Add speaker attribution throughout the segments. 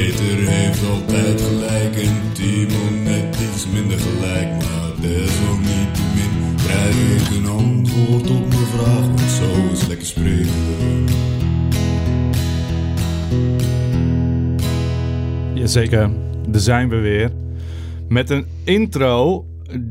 Speaker 1: heeft altijd gelijk en Timon net iets minder gelijk. Maar desalniettemin krijg ik een antwoord op mijn vraag, want zo is lekker spreken.
Speaker 2: Jazeker, daar zijn we weer. Met een intro,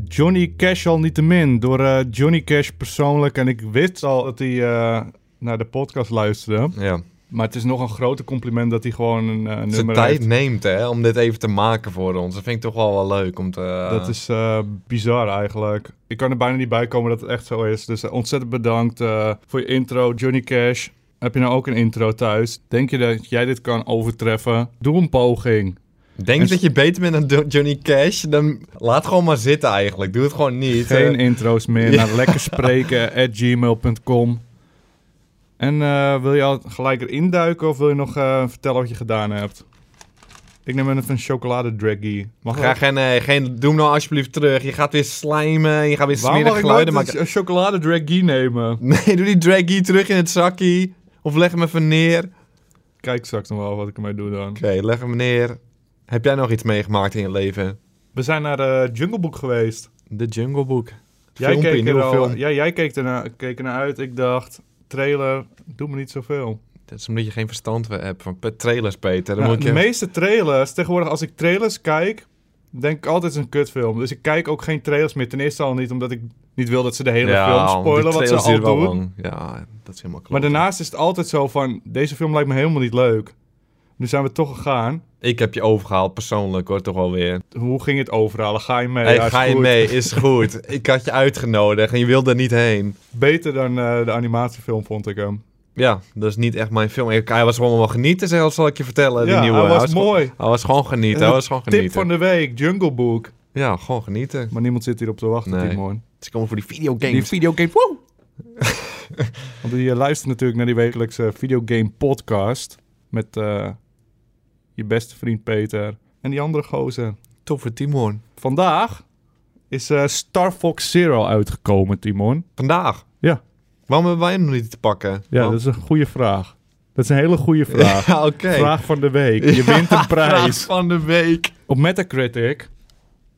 Speaker 2: Johnny Cash al niet te min, door eh, Johnny Cash persoonlijk. En ik wist al dat hij eh, naar de podcast luisterde.
Speaker 3: Ja.
Speaker 2: Maar het is nog een groter compliment dat hij gewoon een eh,
Speaker 3: Zijn
Speaker 2: nummer
Speaker 3: tijd
Speaker 2: heeft.
Speaker 3: neemt hè, om dit even te maken voor ons. Dat vind ik toch wel wel leuk om te...
Speaker 2: Dat is eh, bizar eigenlijk. Ik kan er bijna niet bij komen dat het echt zo is. Dus eh, ontzettend bedankt eh, voor je intro, Johnny Cash. Heb je nou ook een intro thuis? Denk je dat jij dit kan overtreffen? Doe een poging.
Speaker 3: Denk
Speaker 2: en-
Speaker 3: dat je beter bent dan Do- Johnny Cash? Dan laat gewoon maar zitten eigenlijk. Doe het gewoon niet.
Speaker 2: Geen
Speaker 3: Eh,
Speaker 2: intro's meer
Speaker 3: ja.
Speaker 2: naar lekkerspreken at gmail.com. En eh, wil je al gelijk erin duiken of wil je nog eh, vertellen wat je gedaan hebt? Ik neem even een chocoladedraggie. Mag
Speaker 3: Ga
Speaker 2: dat?
Speaker 3: geen, eh, geen, doe hem nou alsjeblieft terug. Je gaat weer slijmen. Je gaat weer
Speaker 2: Waarom mag
Speaker 3: smerige
Speaker 2: ik nooit
Speaker 3: geluiden maken.
Speaker 2: een chocoladedraggie nemen?
Speaker 3: Nee, doe die draggy terug in het zakkie. Of leg hem even neer. Oké,
Speaker 2: Kijk straks nog wel wat ik ermee doe dan.
Speaker 3: leg hem neer. Heb jij nog iets meegemaakt in je leven?
Speaker 2: We zijn naar de Jungle Book geweest.
Speaker 3: De Jungle Book.
Speaker 2: Jij,
Speaker 3: Filmpje,
Speaker 2: keek, er
Speaker 3: nieuwe
Speaker 2: al-
Speaker 3: film.
Speaker 2: Ja, jij keek, erna, keek ernaar uit. Ik dacht, trailer, doe me niet zoveel.
Speaker 3: Dat is omdat je geen verstand hebt van pe- trailers, Peter. Dan
Speaker 2: Nou,
Speaker 3: moet
Speaker 2: de
Speaker 3: je...
Speaker 2: meeste trailers, tegenwoordig als ik trailers kijk, denk ik altijd het is een kutfilm. Dus ik kijk ook geen trailers meer. Ten eerste al niet, omdat ik niet wil dat ze de hele film spoilen,
Speaker 3: die
Speaker 2: wat ze
Speaker 3: trailers
Speaker 2: al
Speaker 3: duren wel
Speaker 2: doen.
Speaker 3: lang. Ja, dat is helemaal klopt.
Speaker 2: Maar daarnaast is het altijd zo van, deze film lijkt me helemaal niet leuk. Nu zijn we toch gegaan.
Speaker 3: Ik heb je overgehaald persoonlijk hoor, toch wel weer.
Speaker 2: Hoe ging het overhalen? Ga je mee?
Speaker 3: hey,
Speaker 2: Ja, is
Speaker 3: ga je
Speaker 2: goed.
Speaker 3: mee, is goed. ik had je uitgenodigd en je wilde er niet heen.
Speaker 2: Beter dan eh, de animatiefilm vond ik hem.
Speaker 3: Ja, dat is niet echt mijn film. Ik- Hij was gewoon wel genieten, zelfs, zal ik je vertellen. die
Speaker 2: Ja,
Speaker 3: nieuwe.
Speaker 2: hij was mooi.
Speaker 3: Gewoon, hij was gewoon genieten. Hij was gewoon
Speaker 2: Tip
Speaker 3: genieten.
Speaker 2: van de week, Jungle Book.
Speaker 3: Ja, gewoon genieten.
Speaker 2: Maar niemand zit hierop te wachten,
Speaker 3: Nee.
Speaker 2: Timon.
Speaker 3: Ze komen voor die videogames.
Speaker 2: Die videogame... Woe! Want je luistert natuurlijk naar die wekelijkse videogame podcast... met eh, je beste vriend Peter en die andere gozer.
Speaker 3: Tof voor Timon.
Speaker 2: Vandaag is eh, Star Fox Zero uitgekomen, Timon.
Speaker 3: Vandaag?
Speaker 2: Ja.
Speaker 3: Waarom hebben wij hem nog niet te pakken?
Speaker 2: Ja,
Speaker 3: Oh.
Speaker 2: dat is een goede vraag. Dat is een hele goede vraag.
Speaker 3: Ja, oké.
Speaker 2: Vraag van de week. Je wint een
Speaker 3: Vraag
Speaker 2: prijs.
Speaker 3: van de week.
Speaker 2: Op Metacritic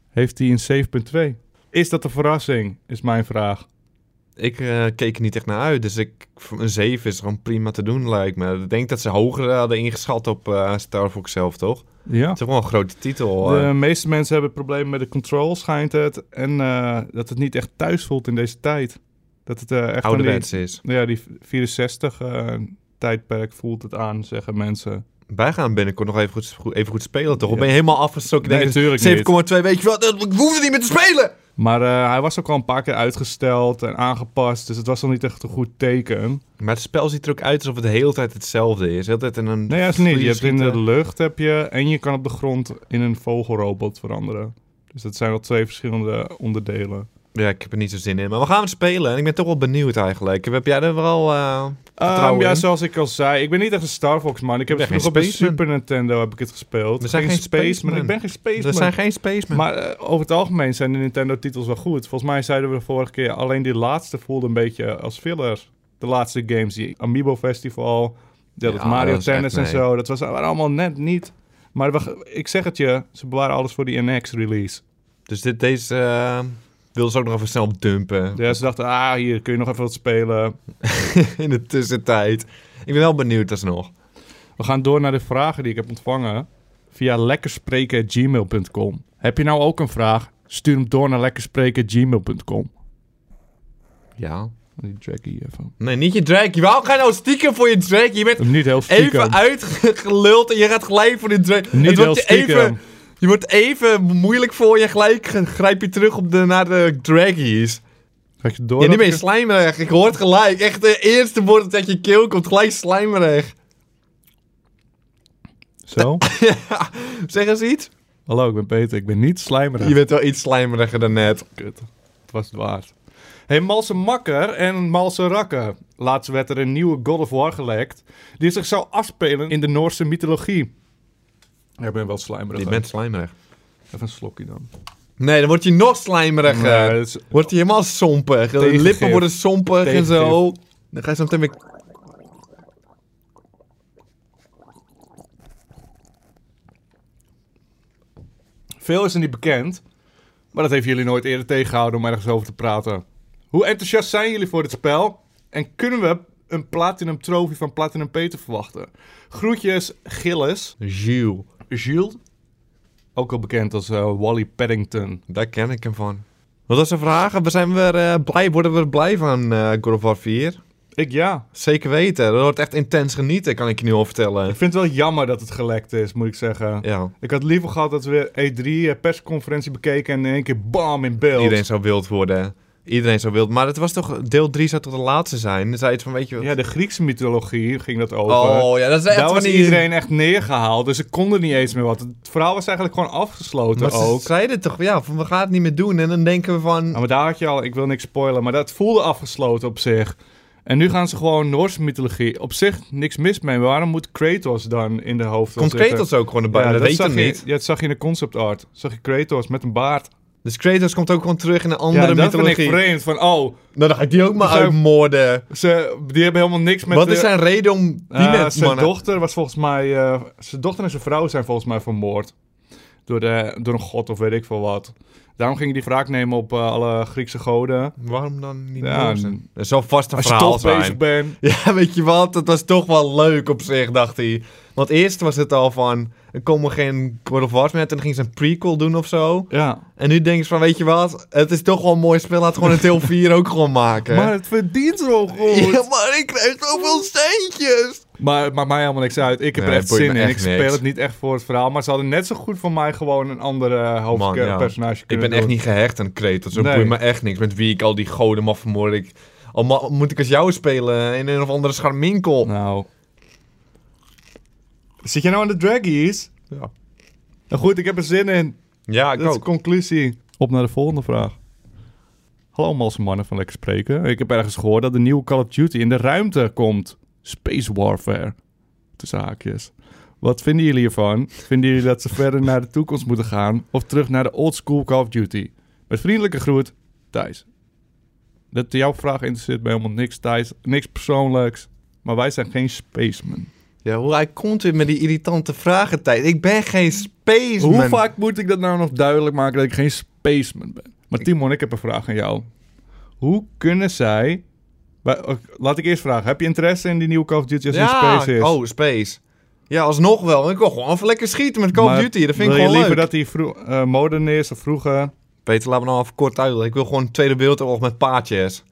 Speaker 2: heeft hij een 7.2. Is dat een verrassing, is mijn vraag.
Speaker 3: Ik eh, keek er niet echt naar uit, dus ik, voor een 7 is gewoon prima te doen, lijkt me. Ik denk dat ze hoger hadden ingeschat op eh, Star Fox zelf, toch?
Speaker 2: Ja.
Speaker 3: Het is wel een grote titel. eh.
Speaker 2: De meeste mensen hebben problemen met de control, schijnt het. En eh, dat het niet echt thuis voelt in deze tijd. Dat het eh, echt aan die,
Speaker 3: ouderwets is.
Speaker 2: ja, die 64 eh, tijdperk voelt het aan, zeggen mensen.
Speaker 3: Wij gaan binnenkort nog even goed, goed- even goed spelen, toch? Of
Speaker 2: Ja.
Speaker 3: ben je helemaal afgestoken?
Speaker 2: Nee,
Speaker 3: Denk je,
Speaker 2: natuurlijk
Speaker 3: 7,2, weet je wat? Ik hoef er niet meer te spelen!
Speaker 2: Maar eh, hij was ook al een paar keer uitgesteld en aangepast. Dus het was al niet echt een goed teken.
Speaker 3: Maar het spel ziet er ook uit alsof het de hele tijd hetzelfde is. De hele tijd in een...
Speaker 2: Nee, dat is het niet. Je hebt in
Speaker 3: schieten.
Speaker 2: de lucht heb je, en je kan op de grond in een vogelrobot veranderen. Dus dat zijn wel twee verschillende onderdelen.
Speaker 3: Ja, ik heb er niet zo zin in. Maar we gaan het spelen en ik ben toch wel benieuwd eigenlijk. Heb jij er wel... eh, Vertrouwen
Speaker 2: Ehm, ja,
Speaker 3: in?
Speaker 2: zoals ik al zei, ik ben niet echt een Star Fox man. Ik heb
Speaker 3: Je
Speaker 2: het
Speaker 3: bent
Speaker 2: vroeger op de
Speaker 3: geen spaceman.
Speaker 2: Super Nintendo heb ik het gespeeld.
Speaker 3: We zijn geen
Speaker 2: spaceman.
Speaker 3: spaceman.
Speaker 2: Ik ben geen
Speaker 3: Er
Speaker 2: spaceman.
Speaker 3: zijn geen spacemen.
Speaker 2: Maar eh, over het algemeen zijn de Nintendo-titels wel goed. Volgens mij zeiden we de vorige keer alleen die laatste voelde een beetje als filler. De laatste games, die Amiibo Festival, ja, dat
Speaker 3: Ja,
Speaker 2: Mario
Speaker 3: dat is
Speaker 2: Tennis
Speaker 3: echt
Speaker 2: en
Speaker 3: nee.
Speaker 2: zo. Dat was, waren allemaal net niet. Maar we- ik zeg het je, ze bewaren alles voor die NX-release.
Speaker 3: Dus dit, deze eh, wilden ze ook nog even snel dumpen
Speaker 2: Ja, ze dachten, ah, hier kun je nog even wat spelen.
Speaker 3: in de tussentijd. Ik ben wel benieuwd alsnog.
Speaker 2: We gaan door naar de vragen die ik heb ontvangen via lekkerspreken.gmail.com. Heb je nou ook een vraag? Stuur hem door naar lekkerspreken.gmail.com.
Speaker 3: Ja.
Speaker 2: Oh, Die Jackie even.
Speaker 3: Nee, niet je Drake. Waarom ga je nou stiekem voor je Drake? Je bent
Speaker 2: Niet heel stiekem.
Speaker 3: even uitgeluld en je gaat gelijk voor de Drake.
Speaker 2: Niet
Speaker 3: Het
Speaker 2: heel
Speaker 3: wordt je
Speaker 2: stiekem.
Speaker 3: even, je wordt even moeilijk voor je. Gelijk grijp je terug op de, naar de Draggies.
Speaker 2: Ga ik je door?
Speaker 3: Ja, nu
Speaker 2: dat
Speaker 3: ben je
Speaker 2: ik-
Speaker 3: slijmerig. Ik hoor het gelijk. Echt de eerste woord dat je keel komt, gelijk slijmerig.
Speaker 2: Zo.
Speaker 3: Zeg eens iets.
Speaker 2: Hallo, ik ben Peter. Ik ben niet slijmerig.
Speaker 3: Je bent wel iets slijmeriger dan net.
Speaker 2: Kut. Het was het waard. Hey, Malse Makker en Malse Rakker. Laatst werd er een nieuwe God of War gelekt... die zich zou afspelen in de Noorse mythologie. Ja, Ik ben wel slijmerig.
Speaker 3: Je
Speaker 2: hè.
Speaker 3: bent slijmerig.
Speaker 2: Even een slokje dan.
Speaker 3: Nee, dan wordt hij nog slijmeriger.
Speaker 2: Nee, dat is-
Speaker 3: Wordt hij helemaal sompig. De
Speaker 2: Tegengif.
Speaker 3: lippen worden sompig en
Speaker 2: Tegengif.
Speaker 3: zo. Dan ga je zo meteen weer...
Speaker 2: Veel is er niet bekend. Maar dat heeft jullie nooit eerder tegengehouden om ergens over te praten. Hoe enthousiast zijn jullie voor dit spel? En kunnen we een Platinum Trophy van Platinum Peter verwachten? Groetjes, Gilles.
Speaker 3: Jules.
Speaker 2: Jules. Ook al bekend als eh, Wally Paddington.
Speaker 3: Daar ken ik hem van. Wat was de vraag? We Zijn we er, eh, blij? Worden we er blij van eh God of War 4?
Speaker 2: Ik ja.
Speaker 3: Zeker weten. Dat wordt echt intens genieten, kan ik je nu al vertellen.
Speaker 2: Ik vind het wel jammer dat het gelekt is, moet ik zeggen.
Speaker 3: Ja,
Speaker 2: Ik had liever gehad dat we E3 persconferentie bekeken en in één keer bam in beeld.
Speaker 3: iedereen zou wild worden. Iedereen zou wild. Maar het was toch... Deel 3 zou toch de laatste zijn? Er zei iets van, weet je wat...
Speaker 2: Ja, de Griekse mythologie ging dat over.
Speaker 3: oh, ja, dat is echt
Speaker 2: Daar
Speaker 3: van
Speaker 2: was
Speaker 3: die-
Speaker 2: iedereen echt neergehaald, dus ik kon er niet eens meer wat. Het verhaal was eigenlijk gewoon afgesloten
Speaker 3: Maar ze
Speaker 2: ook. Oh,
Speaker 3: zeiden toch, ja, van we gaan het niet meer doen. En dan denken we van...
Speaker 2: Ja, maar daar had je al, ik wil niks spoilen, maar dat voelde afgesloten op zich. En nu gaan ze gewoon Noorse mythologie. Op zich niks mis mee. Waarom moet Kratos dan in de hoofd?
Speaker 3: Komt Kratos ook gewoon erbij? dat, weet je
Speaker 2: zag
Speaker 3: toch
Speaker 2: je,
Speaker 3: niet?
Speaker 2: Ja, dat zag je in de concept art. Zag je Kratos met een baard.
Speaker 3: Dus Kratos komt ook gewoon terug in een
Speaker 2: Ja,
Speaker 3: andere
Speaker 2: en dat vind ik
Speaker 3: mythologie.
Speaker 2: vreemd. Van, oh,
Speaker 3: Nou, dan ga ik die ook maar
Speaker 2: Zou-
Speaker 3: uitmoorden.
Speaker 2: ze, die hebben helemaal niks met...
Speaker 3: Wat
Speaker 2: de-
Speaker 3: is zijn reden om die
Speaker 2: Ah,
Speaker 3: mensen,
Speaker 2: zijn
Speaker 3: mannen...
Speaker 2: dochter was volgens mij... eh, zijn dochter en zijn vrouw zijn volgens mij vermoord. Door, de, door een god of weet ik veel wat. Daarom ging hij die wraak nemen op eh, alle Griekse goden.
Speaker 3: Waarom dan niet
Speaker 2: Ja,
Speaker 3: Noorse?
Speaker 2: en-
Speaker 3: Dat zal vast een
Speaker 2: Als je
Speaker 3: verhaal
Speaker 2: toch
Speaker 3: zijn.
Speaker 2: bezig bent.
Speaker 3: Ja, weet je wat? Dat was toch wel leuk op zich, dacht hij. Want eerst was het al van... Er komen geen God of Wars meer uit en dan ging ze een prequel doen of zo.
Speaker 2: Ja.
Speaker 3: En nu denken ze van, weet je wat? Het is toch wel een mooi spel. Laat gewoon een deel 4 ook gewoon maken.
Speaker 2: Maar het verdient zo goed.
Speaker 3: Ja, maar ik krijg zoveel steentjes.
Speaker 2: Maar het maakt mij helemaal niks uit. Ik heb
Speaker 3: Nee,
Speaker 2: er
Speaker 3: het
Speaker 2: echt
Speaker 3: boeit
Speaker 2: zin
Speaker 3: me
Speaker 2: in.
Speaker 3: echt
Speaker 2: Ik speel
Speaker 3: niks.
Speaker 2: het niet echt voor het verhaal. Maar ze hadden net zo goed voor mij gewoon een andere
Speaker 3: Man, ja.
Speaker 2: hoofdpersonage
Speaker 3: Ik
Speaker 2: kunnen
Speaker 3: ben echt
Speaker 2: doen.
Speaker 3: niet gehecht aan Kratos. Dat
Speaker 2: Nee.
Speaker 3: boeit me echt niks. Met wie ik al die goden mag vermoorden. Ik, al ma- moet ik als jou spelen in een of andere scharminkel.
Speaker 2: Nou. Zit je nou aan de draggies?
Speaker 3: Ja,
Speaker 2: Nou goed, ik heb er zin in.
Speaker 3: ja ik
Speaker 2: Dat is
Speaker 3: ook.
Speaker 2: conclusie. Op naar de volgende vraag. Hallo malse mannen van Lekker Spreken. Ik heb ergens gehoord dat de nieuwe Call of Duty in de ruimte komt. Space Warfare. Tussen haakjes. Wat vinden jullie hiervan? Vinden jullie dat ze verder naar de toekomst moeten gaan? Of terug naar de old school Call of Duty? Met vriendelijke groet, Thijs. Dat jouw vraag interesseert mij helemaal niks, Thijs. Niks persoonlijks. Maar wij zijn geen spacemen.
Speaker 3: Ja, hoe hij komt weer met die irritante vragen tijd. Ik ben geen spaceman.
Speaker 2: Hoe vaak moet ik dat nou nog duidelijk maken dat ik geen spaceman ben? Maar Timon, ik heb een vraag aan jou. Hoe kunnen zij... Bij- oh, Laat ik eerst vragen. Heb je interesse in die nieuwe Call of Duty als die in space is?
Speaker 3: oh, space. Ja, alsnog wel. Ik wil gewoon even lekker schieten met Call
Speaker 2: Maar
Speaker 3: of Duty. Dat vind ik
Speaker 2: wil je
Speaker 3: gewoon leuk.
Speaker 2: liever dat die vro- eh, modern is of vroeger?
Speaker 3: Peter, laat me nou even kort uit. Ik wil gewoon een tweede wereldoorlog met paardjes.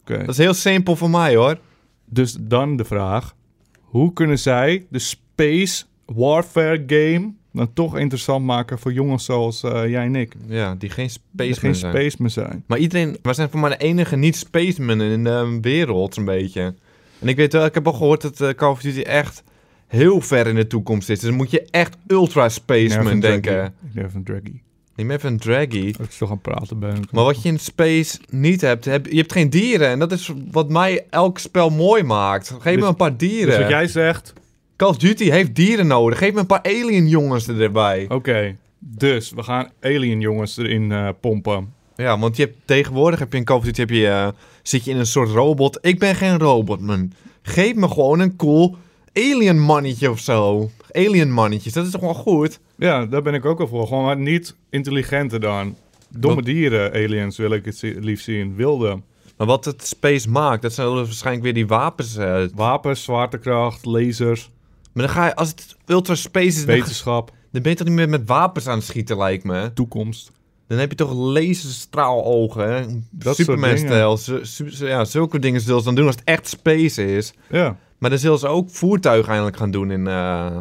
Speaker 2: Oké.
Speaker 3: Dat is heel simpel voor mij, hoor.
Speaker 2: Dus dan de vraag. Hoe kunnen zij de space warfare game dan toch interessant maken voor jongens zoals eh, jij en ik?
Speaker 3: Ja, die geen
Speaker 2: Die
Speaker 3: spaceman
Speaker 2: geen
Speaker 3: zijn.
Speaker 2: spaceman zijn.
Speaker 3: Maar iedereen, wij zijn voor mij de enige niet-spacemen in de wereld, een beetje. En ik weet wel, ik heb al gehoord dat eh, Call of Duty echt heel ver in de toekomst is. Dus dan moet je echt ultra-spaceman
Speaker 2: Nerve een
Speaker 3: denken.
Speaker 2: draggy. Ik durf een draggy.
Speaker 3: Neem even een draggy.
Speaker 2: Dat ik zo gaan praten ben.
Speaker 3: Maar wat je in space niet hebt, heb, je hebt geen dieren. En dat is wat mij elk spel mooi maakt. Geef me
Speaker 2: Dus-
Speaker 3: een paar dieren.
Speaker 2: Dus wat jij zegt,
Speaker 3: Call of Duty heeft dieren nodig. Geef me een paar alien jongens erbij.
Speaker 2: Oké, dus we gaan alien jongens erin eh, pompen.
Speaker 3: Ja, want je hebt, tegenwoordig heb je in Call of Duty heb je, eh, zit je in een soort robot. Ik ben geen robot, man. Geef me gewoon een cool alien mannetje of zo. Alien mannetjes, dat is toch wel goed?
Speaker 2: Ja, daar ben ik ook al voor. Gewoon maar niet intelligente dan. Domme
Speaker 3: Wat-
Speaker 2: dieren, aliens wil ik het zi- liefst zien. Wilde.
Speaker 3: Maar wat het space maakt, dat zijn dus waarschijnlijk weer die wapens. eh.
Speaker 2: Wapens, zwaartekracht, lasers,
Speaker 3: Maar dan ga je, als het ultra space is, dan, ga-
Speaker 2: wetenschap,
Speaker 3: dan ben je toch niet meer met wapens aan het schieten, lijkt me.
Speaker 2: toekomst.
Speaker 3: Dan heb je toch laserstraalogen, hè?
Speaker 2: soort
Speaker 3: Superman-stijl. Zu- zu- zu- Ja, zulke dingen zullen ze dan doen als het echt space is.
Speaker 2: Ja,
Speaker 3: Maar dan zullen ze ook voertuigen eindelijk gaan doen in... eh Call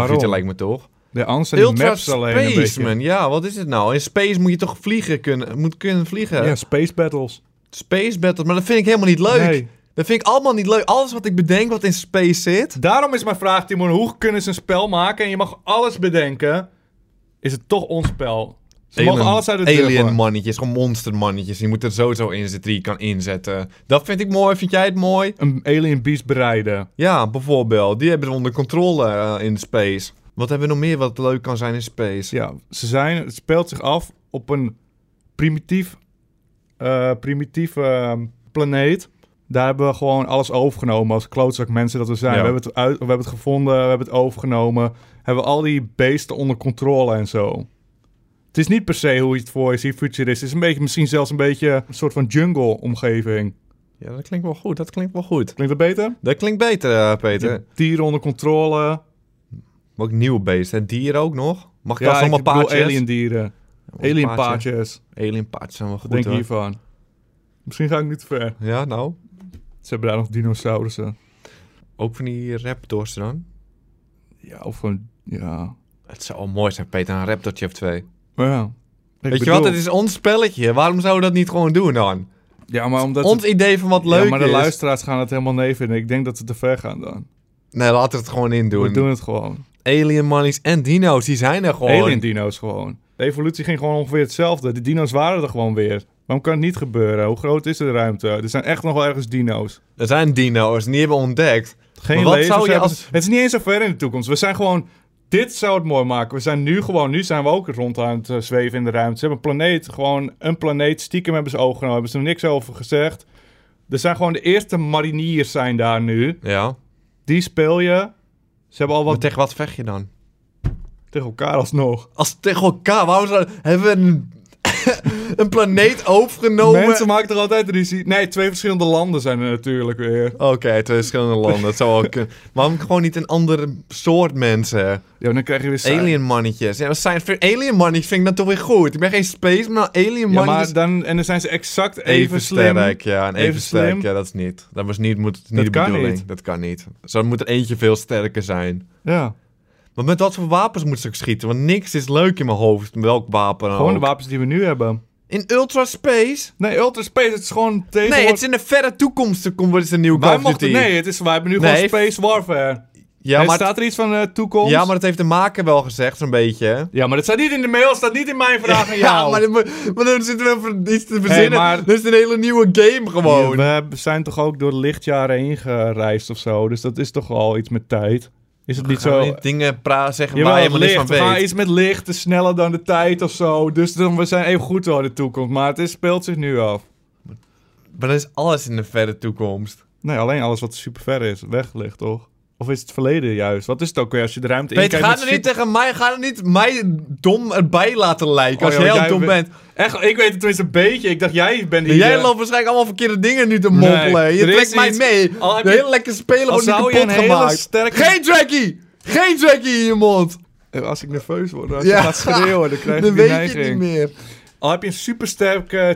Speaker 3: of Duty
Speaker 2: Waarom?
Speaker 3: lijkt me toch?
Speaker 2: de angst en die
Speaker 3: Ultra
Speaker 2: maps alleen een
Speaker 3: Space,
Speaker 2: beetje.
Speaker 3: man. Ja, wat is het nou? In space moet je toch vliegen kunnen, moet kunnen vliegen?
Speaker 2: Ja, space battles.
Speaker 3: Space battles, maar dat vind ik helemaal niet leuk.
Speaker 2: Nee.
Speaker 3: Dat vind ik allemaal niet leuk. Alles wat ik bedenk wat in space zit.
Speaker 2: Daarom is mijn vraag, Timon, hoe kunnen ze een spel maken en je mag alles bedenken? Is het toch ons spel? Ze mogen alles uit de deur
Speaker 3: Alien
Speaker 2: gooien.
Speaker 3: mannetjes, gewoon monster mannetjes. Die moeten er sowieso in zitten die je kan inzetten. Dat vind ik mooi. Vind jij het mooi?
Speaker 2: Een alien beast bereiden.
Speaker 3: Ja, bijvoorbeeld. Die hebben ze onder controle eh, in space. Wat hebben we nog meer wat leuk kan zijn in space?
Speaker 2: Ja, ze zijn, het speelt zich af op een primitief, eh, primitieve ehm, planeet. Daar hebben we gewoon alles overgenomen als klootzak mensen dat we zijn.
Speaker 3: Ja.
Speaker 2: We, hebben het uit, we hebben het gevonden, we hebben het overgenomen. Hebben al die beesten onder controle en zo. Het is niet per se hoe je het voor je ziet, futurist. Het is een beetje, misschien zelfs een beetje een soort van jungle-omgeving.
Speaker 3: Ja, dat klinkt wel goed. Dat klinkt wel goed.
Speaker 2: Klinkt dat beter?
Speaker 3: Dat klinkt beter, eh, Peter.
Speaker 2: De dieren onder controle.
Speaker 3: Maar ook nieuw beest. En dier ook nog. Mag ik
Speaker 2: Ja,
Speaker 3: alsnog
Speaker 2: ik
Speaker 3: allemaal
Speaker 2: bedoel
Speaker 3: paardjes?
Speaker 2: alien dieren.
Speaker 3: Allemaal
Speaker 2: Alien
Speaker 3: paardje.
Speaker 2: paardjes.
Speaker 3: Alien paardjes zijn wel
Speaker 2: Wat
Speaker 3: goed,
Speaker 2: denk je
Speaker 3: hoor.
Speaker 2: hiervan? Misschien ga ik niet te ver.
Speaker 3: Ja, nou.
Speaker 2: Ze hebben daar nog dinosaurussen.
Speaker 3: Ook van die raptors dan.
Speaker 2: Ja, of gewoon... Ja.
Speaker 3: Het zou wel mooi zijn, Peter. Een raptortje of twee.
Speaker 2: Maar ja. Ik
Speaker 3: Weet je
Speaker 2: bedoel-
Speaker 3: wat? Het is ons spelletje. Waarom zouden we dat niet gewoon doen dan?
Speaker 2: Ja, maar omdat...
Speaker 3: ons idee van wat leuk
Speaker 2: ja, maar de
Speaker 3: is.
Speaker 2: luisteraars gaan het helemaal nee vinden. Ik denk dat ze te ver gaan dan.
Speaker 3: Nee, laten we het gewoon in
Speaker 2: We
Speaker 3: doen.
Speaker 2: doen het gewoon.
Speaker 3: Alien monkeys en dino's, die zijn er gewoon.
Speaker 2: Alien dino's gewoon. De evolutie ging gewoon ongeveer hetzelfde. De dino's waren er gewoon weer. Waarom kan het niet gebeuren? Hoe groot is de ruimte? Er zijn echt nog wel ergens dino's.
Speaker 3: Er zijn dino's, en die hebben we ontdekt.
Speaker 2: Geen
Speaker 3: Maar wat
Speaker 2: lezers
Speaker 3: zou je
Speaker 2: hebben-
Speaker 3: als-
Speaker 2: Het is niet eens zo ver in de toekomst. We zijn gewoon... Dit zou het mooi maken. We zijn nu gewoon... Nu zijn we ook rond aan het eh, zweven in de ruimte. Ze hebben een planeet. Gewoon een planeet. Stiekem hebben ze ogen genomen. Hebben ze er niks over gezegd. Er zijn gewoon de eerste mariniers zijn daar nu.
Speaker 3: Ja.
Speaker 2: Die speel je. Ze hebben al
Speaker 3: Maar
Speaker 2: wat
Speaker 3: tegen wat vecht je dan?
Speaker 2: tegen elkaar alsnog.
Speaker 3: Als tegen elkaar, waarom zou... hebben we een, een planeet overgenomen?
Speaker 2: Mensen maken er altijd ruzie. Nee, twee verschillende landen zijn er natuurlijk weer.
Speaker 3: Oké, twee verschillende landen, dat zou wel kunnen. Waarom gewoon niet een andere soort mensen?
Speaker 2: Ja, dan krijg je weer saai.
Speaker 3: Alien mannetjes. Ja, science fiction- alien mannetjes vind ik dat toch weer goed. Ik ben geen space, maar nou, alien
Speaker 2: Ja, maar
Speaker 3: mannetjes...
Speaker 2: dan, en dan zijn ze exact even,
Speaker 3: Even
Speaker 2: slim.
Speaker 3: sterk, ja. En even,
Speaker 2: Even
Speaker 3: sterk,
Speaker 2: slim.
Speaker 3: ja, dat is niet. Dat was niet, moet, niet
Speaker 2: Dat
Speaker 3: de
Speaker 2: kan
Speaker 3: bedoeling.
Speaker 2: niet.
Speaker 3: Dat kan niet. Zo moet er eentje veel sterker zijn.
Speaker 2: Ja,
Speaker 3: Maar met wat voor wapens moet ze ook schieten? Want niks is leuk in mijn hoofd, met welk wapen dan
Speaker 2: gewoon de
Speaker 3: ook.
Speaker 2: wapens die we nu hebben.
Speaker 3: In ultra space?
Speaker 2: Nee, Ultra Space, het is gewoon tegen.
Speaker 3: Nee, het is in de verre toekomst er komt wordt een nieuwe Call
Speaker 2: wij
Speaker 3: of
Speaker 2: mochten,
Speaker 3: Duty.
Speaker 2: nee, het is, wij hebben nu
Speaker 3: Nee,
Speaker 2: gewoon Space Warfare.
Speaker 3: ja,
Speaker 2: En
Speaker 3: maar,
Speaker 2: staat er iets van eh, toekomst?
Speaker 3: ja, maar dat heeft de maker wel gezegd, zo'n beetje.
Speaker 2: ja, maar dat staat niet in de mail, staat niet in mijn vraag aan jou.
Speaker 3: Ja, maar, dit moet- maar dan zitten we voor iets te verzinnen.
Speaker 2: maar-
Speaker 3: Dit is een hele nieuwe game gewoon.
Speaker 2: We hebben- zijn toch ook door de lichtjaren heen gereisd of zo, dus dat is toch al iets met tijd. Is het niet
Speaker 3: Gaan
Speaker 2: zo...
Speaker 3: we niet dingen pra zeggen
Speaker 2: Jawel,
Speaker 3: waar je
Speaker 2: het
Speaker 3: helemaal niks
Speaker 2: licht.
Speaker 3: van
Speaker 2: We gaan
Speaker 3: weet.
Speaker 2: iets met licht, is sneller dan de tijd of zo. Dus dan, we zijn even goed door de toekomst. Maar het is, speelt zich nu af.
Speaker 3: Maar dan is alles in de verre toekomst.
Speaker 2: Nee, alleen alles wat super ver is, weg ligt, toch? Of is het verleden juist? Wat is het ook weer als je de ruimte in
Speaker 3: Peter, ga er niet tegen mij, ga er niet mij dom erbij laten lijken
Speaker 2: Oh,
Speaker 3: als
Speaker 2: joh,
Speaker 3: jij al
Speaker 2: jij
Speaker 3: dom
Speaker 2: bent-
Speaker 3: bent.
Speaker 2: Echt, ik weet het tenminste een beetje. Ik dacht, jij bent hier...
Speaker 3: jij
Speaker 2: eh,
Speaker 3: loopt waarschijnlijk allemaal verkeerde dingen nu te
Speaker 2: Nee,
Speaker 3: mompelen. je
Speaker 2: er is
Speaker 3: trekt mij
Speaker 2: iets-
Speaker 3: mee.
Speaker 2: al heb
Speaker 3: de
Speaker 2: je-
Speaker 3: hele lekkere speler
Speaker 2: Al
Speaker 3: wordt nu
Speaker 2: zou
Speaker 3: kapot
Speaker 2: je een hele
Speaker 3: gemaakt.
Speaker 2: sterke...
Speaker 3: Geen trackie! Geen trackie in je mond!
Speaker 2: Eh, Als ik nerveus word, als
Speaker 3: Ja.
Speaker 2: ik ga schreeuwen, dan krijg
Speaker 3: Dan
Speaker 2: ik die
Speaker 3: weet je het
Speaker 2: neiging.
Speaker 3: niet meer.
Speaker 2: Al heb je een supersterk eh,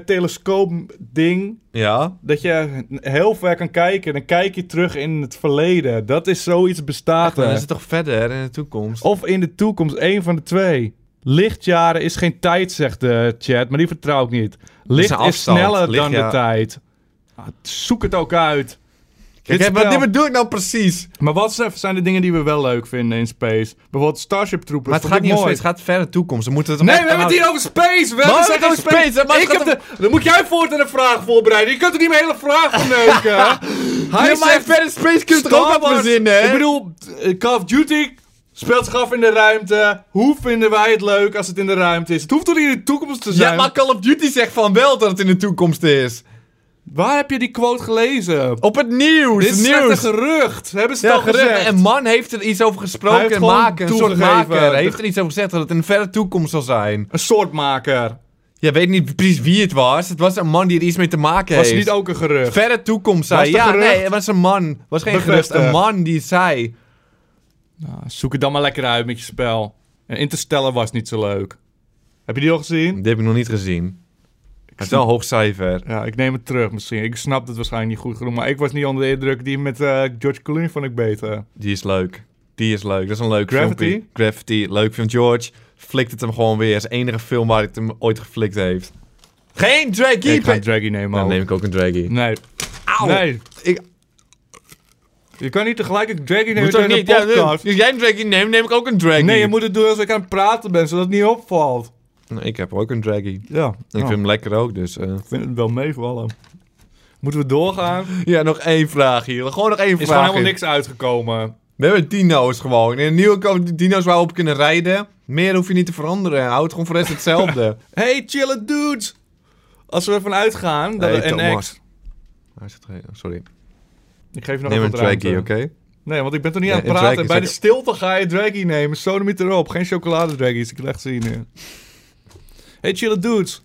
Speaker 2: telescoop-ding...
Speaker 3: Ja?
Speaker 2: Dat je heel ver kan kijken, dan kijk je terug in het verleden. Dat is zoiets bestaat
Speaker 3: Dan
Speaker 2: er.
Speaker 3: is het toch verder in de toekomst.
Speaker 2: Of in de toekomst, één van de twee. Lichtjaren is geen tijd, zegt de chat, maar die vertrouw ik niet. Licht is,
Speaker 3: afstand.
Speaker 2: sneller
Speaker 3: Licht,
Speaker 2: dan
Speaker 3: ja.
Speaker 2: de tijd. Ah, zoek het ook uit.
Speaker 3: Kijk,
Speaker 2: dit
Speaker 3: hè, wat,
Speaker 2: spel-
Speaker 3: dit bedoel ik nou precies?
Speaker 2: Maar wat zijn- zijn de dingen die we wel leuk vinden in space? Bijvoorbeeld Starship Troopers.
Speaker 3: Maar het
Speaker 2: vond
Speaker 3: gaat
Speaker 2: ik
Speaker 3: niet om
Speaker 2: mooi.
Speaker 3: space, het gaat verder toekomst. Dan moeten we het
Speaker 2: Nee,
Speaker 3: echt
Speaker 2: we hebben het
Speaker 3: aan-
Speaker 2: hier over space. We
Speaker 3: Maar
Speaker 2: hebben
Speaker 3: we hebben
Speaker 2: geen
Speaker 3: het over space, maar het
Speaker 2: Ik
Speaker 3: gaat
Speaker 2: heb de... Dan moet jij voortaan een vraag voorbereiden. Je kunt er niet mijn hele vraag van neuken. Hij
Speaker 3: Ja, maar
Speaker 2: zegt-
Speaker 3: verder space kun je toch ook
Speaker 2: Star
Speaker 3: wat
Speaker 2: Wars-
Speaker 3: verzinnen, hè?
Speaker 2: Ik bedoel, eh, Call of Duty speelt zich af in de ruimte. Hoe vinden wij het leuk als het in de ruimte is? Het hoeft toch niet in de toekomst te zijn?
Speaker 3: Ja, maar Call of Duty zegt van wel dat het in de toekomst is.
Speaker 2: Waar heb je die quote gelezen?
Speaker 3: Op het nieuws!
Speaker 2: Dit is
Speaker 3: Oh, het
Speaker 2: slecht een
Speaker 3: nieuws!
Speaker 2: gerucht. Hebben ze
Speaker 3: Ja,
Speaker 2: het al
Speaker 3: gerucht.
Speaker 2: gezegd?
Speaker 3: En man heeft er iets over
Speaker 2: Hij
Speaker 3: gesproken.
Speaker 2: heeft
Speaker 3: Een
Speaker 2: gewoon
Speaker 3: maker, een soort
Speaker 2: toegegeven.
Speaker 3: maker.
Speaker 2: De-
Speaker 3: Heeft er iets over gezegd dat het in de verre toekomst zal zijn.
Speaker 2: Een soortmaker.
Speaker 3: Je weet niet precies wie het was. Het was een man die er iets mee te maken
Speaker 2: Was
Speaker 3: heeft.
Speaker 2: niet ook een gerucht?
Speaker 3: Verre toekomst zei.
Speaker 2: Was het
Speaker 3: Ja,
Speaker 2: een gerucht?
Speaker 3: nee, het was een man. Het was geen
Speaker 2: Bevestigd.
Speaker 3: gerucht. Een man die het zei.
Speaker 2: Nou, zoek het dan maar lekker uit met je spel. En Interstellar was niet zo leuk. Heb je die al gezien?
Speaker 3: Dit heb ik nog niet gezien. Het is wel een hoog cijfer.
Speaker 2: Ja, ik neem het terug misschien. Ik snap het waarschijnlijk niet goed genoeg. Maar ik was niet onder de indruk. Die met eh, George Clooney vond ik beter.
Speaker 3: Die is leuk. Die is leuk. Dat is een leuk
Speaker 2: Gravity?
Speaker 3: filmpje. Gravity. Leuk film. George flikt het hem gewoon weer. Dat is de enige film waar het hem ooit geflikt heeft. Geen draggy!
Speaker 2: Ik ga een
Speaker 3: Dan
Speaker 2: draggy nemen.
Speaker 3: nou,
Speaker 2: ook.
Speaker 3: neem ik ook een draggy.
Speaker 2: Nee.
Speaker 3: Auw!
Speaker 2: Nee.
Speaker 3: Ik,
Speaker 2: Je kan niet tegelijk een draggy nemen
Speaker 3: moet ook
Speaker 2: tijdens
Speaker 3: niet.
Speaker 2: een
Speaker 3: Ja, nee.
Speaker 2: podcast.
Speaker 3: Als jij een draggy neemt, neem ik ook een draggy.
Speaker 2: nee, je moet het doen als ik aan het praten ben, zodat het niet opvalt.
Speaker 3: Nou, Ik heb ook een draggy.
Speaker 2: Ja.
Speaker 3: Ik vind hem lekker ook, dus... eh.
Speaker 2: het wel meevallen. Moeten we doorgaan?
Speaker 3: Ja, nog één vraag hier. Gewoon nog één
Speaker 2: Is
Speaker 3: vraag.
Speaker 2: gewoon helemaal niks uitgekomen.
Speaker 3: We hebben dino's gewoon. In een nieuwe ko- dino's waar we op kunnen rijden. Meer hoef je niet te veranderen. Houd gewoon voor de rest hetzelfde.
Speaker 2: Hey, chille dudes! Als we ervan uitgaan dat
Speaker 3: Hey,
Speaker 2: er NX...
Speaker 3: Thomas. Hij is getraind. Oh, Sorry.
Speaker 2: Ik geef je nog
Speaker 3: Neem
Speaker 2: wat
Speaker 3: een
Speaker 2: ruimte.
Speaker 3: draggy, oké?
Speaker 2: Nee, want ik ben toch niet
Speaker 3: Nee,
Speaker 2: aan het
Speaker 3: een
Speaker 2: praten.
Speaker 3: draggy
Speaker 2: Bij de
Speaker 3: is
Speaker 2: stilte ga je draggy nemen. Sodemiet erop. Geen chocoladedraggies. Ik wil echt zien. Hey, chille dudes.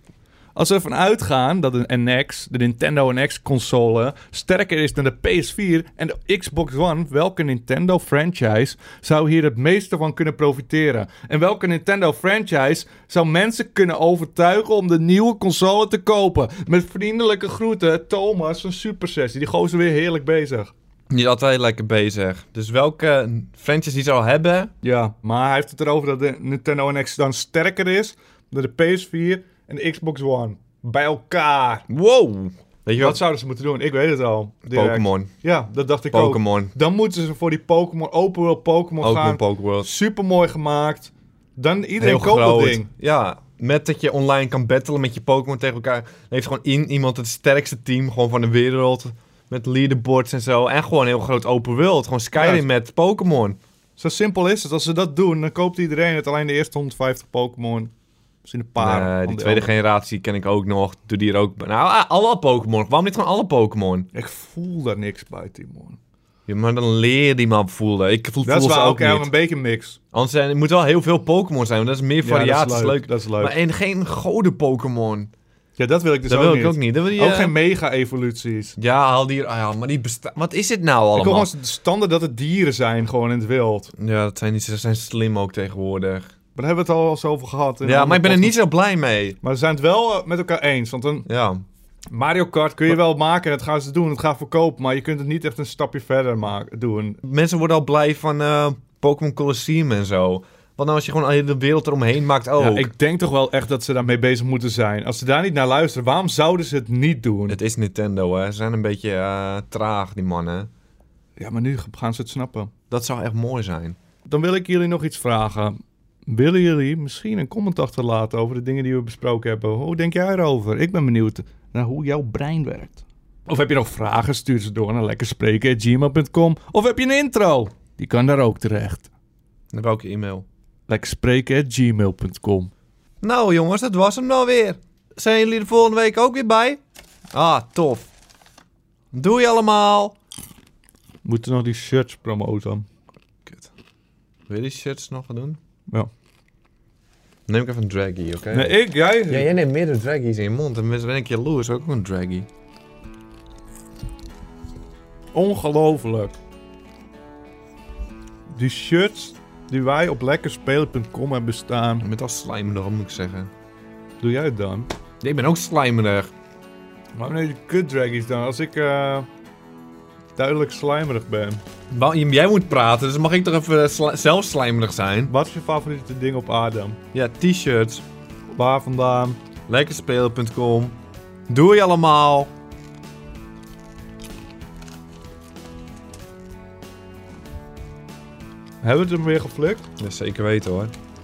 Speaker 2: Als we ervan uitgaan dat een NX, de Nintendo NX-console, sterker is dan de PS4 en de Xbox One, welke Nintendo-franchise zou hier het meeste van kunnen profiteren? En welke Nintendo-franchise zou mensen kunnen overtuigen om de nieuwe console te kopen? Met vriendelijke groeten, Thomas van Super Sessie. Die gozer weer heerlijk bezig.
Speaker 3: Niet altijd lekker bezig. Dus welke franchise die zou hebben?
Speaker 2: Ja, maar hij heeft het erover dat de Nintendo NX dan sterker is dan de PS4 en de Xbox One. Bij elkaar.
Speaker 3: Wow! Weet je
Speaker 2: Wat
Speaker 3: wat?
Speaker 2: zouden ze moeten doen? Ik weet het al. Direct.
Speaker 3: Pokémon.
Speaker 2: Ja, dat dacht ik ook.
Speaker 3: Pokémon.
Speaker 2: Dan moeten ze voor die Pokémon, open world Pokémon
Speaker 3: Pokémon
Speaker 2: gaan.
Speaker 3: Pokeworld.
Speaker 2: Super mooi gemaakt. Dan iedereen
Speaker 3: Heel
Speaker 2: koopt dat
Speaker 3: groot.
Speaker 2: ding.
Speaker 3: Ja, met dat je online kan battlen met je Pokémon tegen elkaar. Dan heeft gewoon in iemand het sterkste team gewoon van de wereld. Met leaderboards en zo. En gewoon een heel groot open world. Gewoon Skyrim
Speaker 2: Juist.
Speaker 3: met Pokémon.
Speaker 2: Zo simpel is het. Als ze dat doen, dan koopt iedereen het. Alleen de eerste 150 Pokémon. Misschien een paar.
Speaker 3: Nee,
Speaker 2: van
Speaker 3: die
Speaker 2: de
Speaker 3: tweede
Speaker 2: andere.
Speaker 3: generatie ken ik ook nog. Doe die er ook... Nou, ah, alle Pokémon. Waarom niet gewoon alle Pokémon?
Speaker 2: Ik voel daar niks bij, Timon.
Speaker 3: Ja, maar dan leer die man voelen. Ik voel,
Speaker 2: Dat
Speaker 3: voel
Speaker 2: is
Speaker 3: ze
Speaker 2: wel
Speaker 3: ook
Speaker 2: ook
Speaker 3: niet.
Speaker 2: een beetje mix.
Speaker 3: Anders zijn, het moet wel heel veel Pokémon zijn. Want dat is
Speaker 2: Ja,
Speaker 3: meer variatie.
Speaker 2: dat is leuk. Dat is leuk.
Speaker 3: Maar en geen goden Pokémon.
Speaker 2: Ja, dat wil ik dus
Speaker 3: dat
Speaker 2: ook
Speaker 3: wil
Speaker 2: niet.
Speaker 3: ik ook niet. Dat wil je-
Speaker 2: Ook geen mega-evoluties.
Speaker 3: Ja, haal die... ah ja, maar die besta- Wat is dit nou
Speaker 2: Ik hoor
Speaker 3: allemaal?
Speaker 2: gewoon standaard dat het dieren zijn, gewoon in het wild.
Speaker 3: Ja, dat zijn, niet, ze zijn slim ook tegenwoordig.
Speaker 2: Maar daar hebben we het al eens over gehad. in
Speaker 3: ja,
Speaker 2: een
Speaker 3: maar ik ben er
Speaker 2: andere
Speaker 3: niet zo blij mee.
Speaker 2: podcast. Maar we zijn het wel eh, met elkaar eens. Want een
Speaker 3: Ja.
Speaker 2: Mario Kart kun je wel maken, dat gaan ze doen, dat gaat verkopen. Maar je kunt het niet echt een stapje verder maken, doen.
Speaker 3: Mensen worden al blij van eh, Pokémon Colosseum en zo. Wat nou als je gewoon de hele wereld eromheen maakt ook?
Speaker 2: Ja, ik denk toch wel echt dat ze daarmee bezig moeten zijn. Als ze daar niet naar luisteren, waarom zouden ze het niet doen?
Speaker 3: Het is Nintendo, hè. Ze zijn een beetje eh, traag, die mannen.
Speaker 2: Ja, maar nu gaan ze het snappen.
Speaker 3: Dat zou echt mooi zijn.
Speaker 2: Dan wil ik jullie nog iets vragen. Willen jullie misschien een comment achterlaten over de dingen die we besproken hebben? Hoe denk jij erover? Ik ben benieuwd naar hoe jouw brein werkt. Of heb je nog vragen? Stuur ze door naar lekkerspreken.gmail.com. Of heb je een intro? Die kan daar ook terecht.
Speaker 3: Dan welke e-mail?
Speaker 2: Lekkerspreken.gmail.com
Speaker 3: Nou jongens, dat was hem nou weer. Zijn jullie er volgende week ook weer bij? Ah, tof. Doei allemaal.
Speaker 2: Moeten nog die shirts promoten.
Speaker 3: Kut. Wil je die shirts nog gaan doen?
Speaker 2: Ja.
Speaker 3: Neem ik even een draggie, oké?
Speaker 2: Nee, ik, jij?
Speaker 3: Ja, jij neemt meerdere draggies in je mond. En ben ik jaloers, ook een draggie.
Speaker 2: Ongelooflijk. Die shirts die wij op lekkerspelen.com hebben staan.
Speaker 3: Met al slijmerig, moet ik zeggen.
Speaker 2: Doe jij het dan?
Speaker 3: Nee, ik ben ook slijmerig.
Speaker 2: Maar nee, die kutdraggies dan. Als ik eh, duidelijk slijmerig ben.
Speaker 3: Wa- Jij moet praten, dus mag ik toch even eh, sli- zelf slijmerig zijn?
Speaker 2: Wat is je favoriete ding op aarde?
Speaker 3: Ja, t-shirts.
Speaker 2: Waar vandaan?
Speaker 3: Lekkerspelen.com. Doei allemaal.
Speaker 2: Hebben we het hem weer geflikt?
Speaker 3: Ja, zeker weten hoor.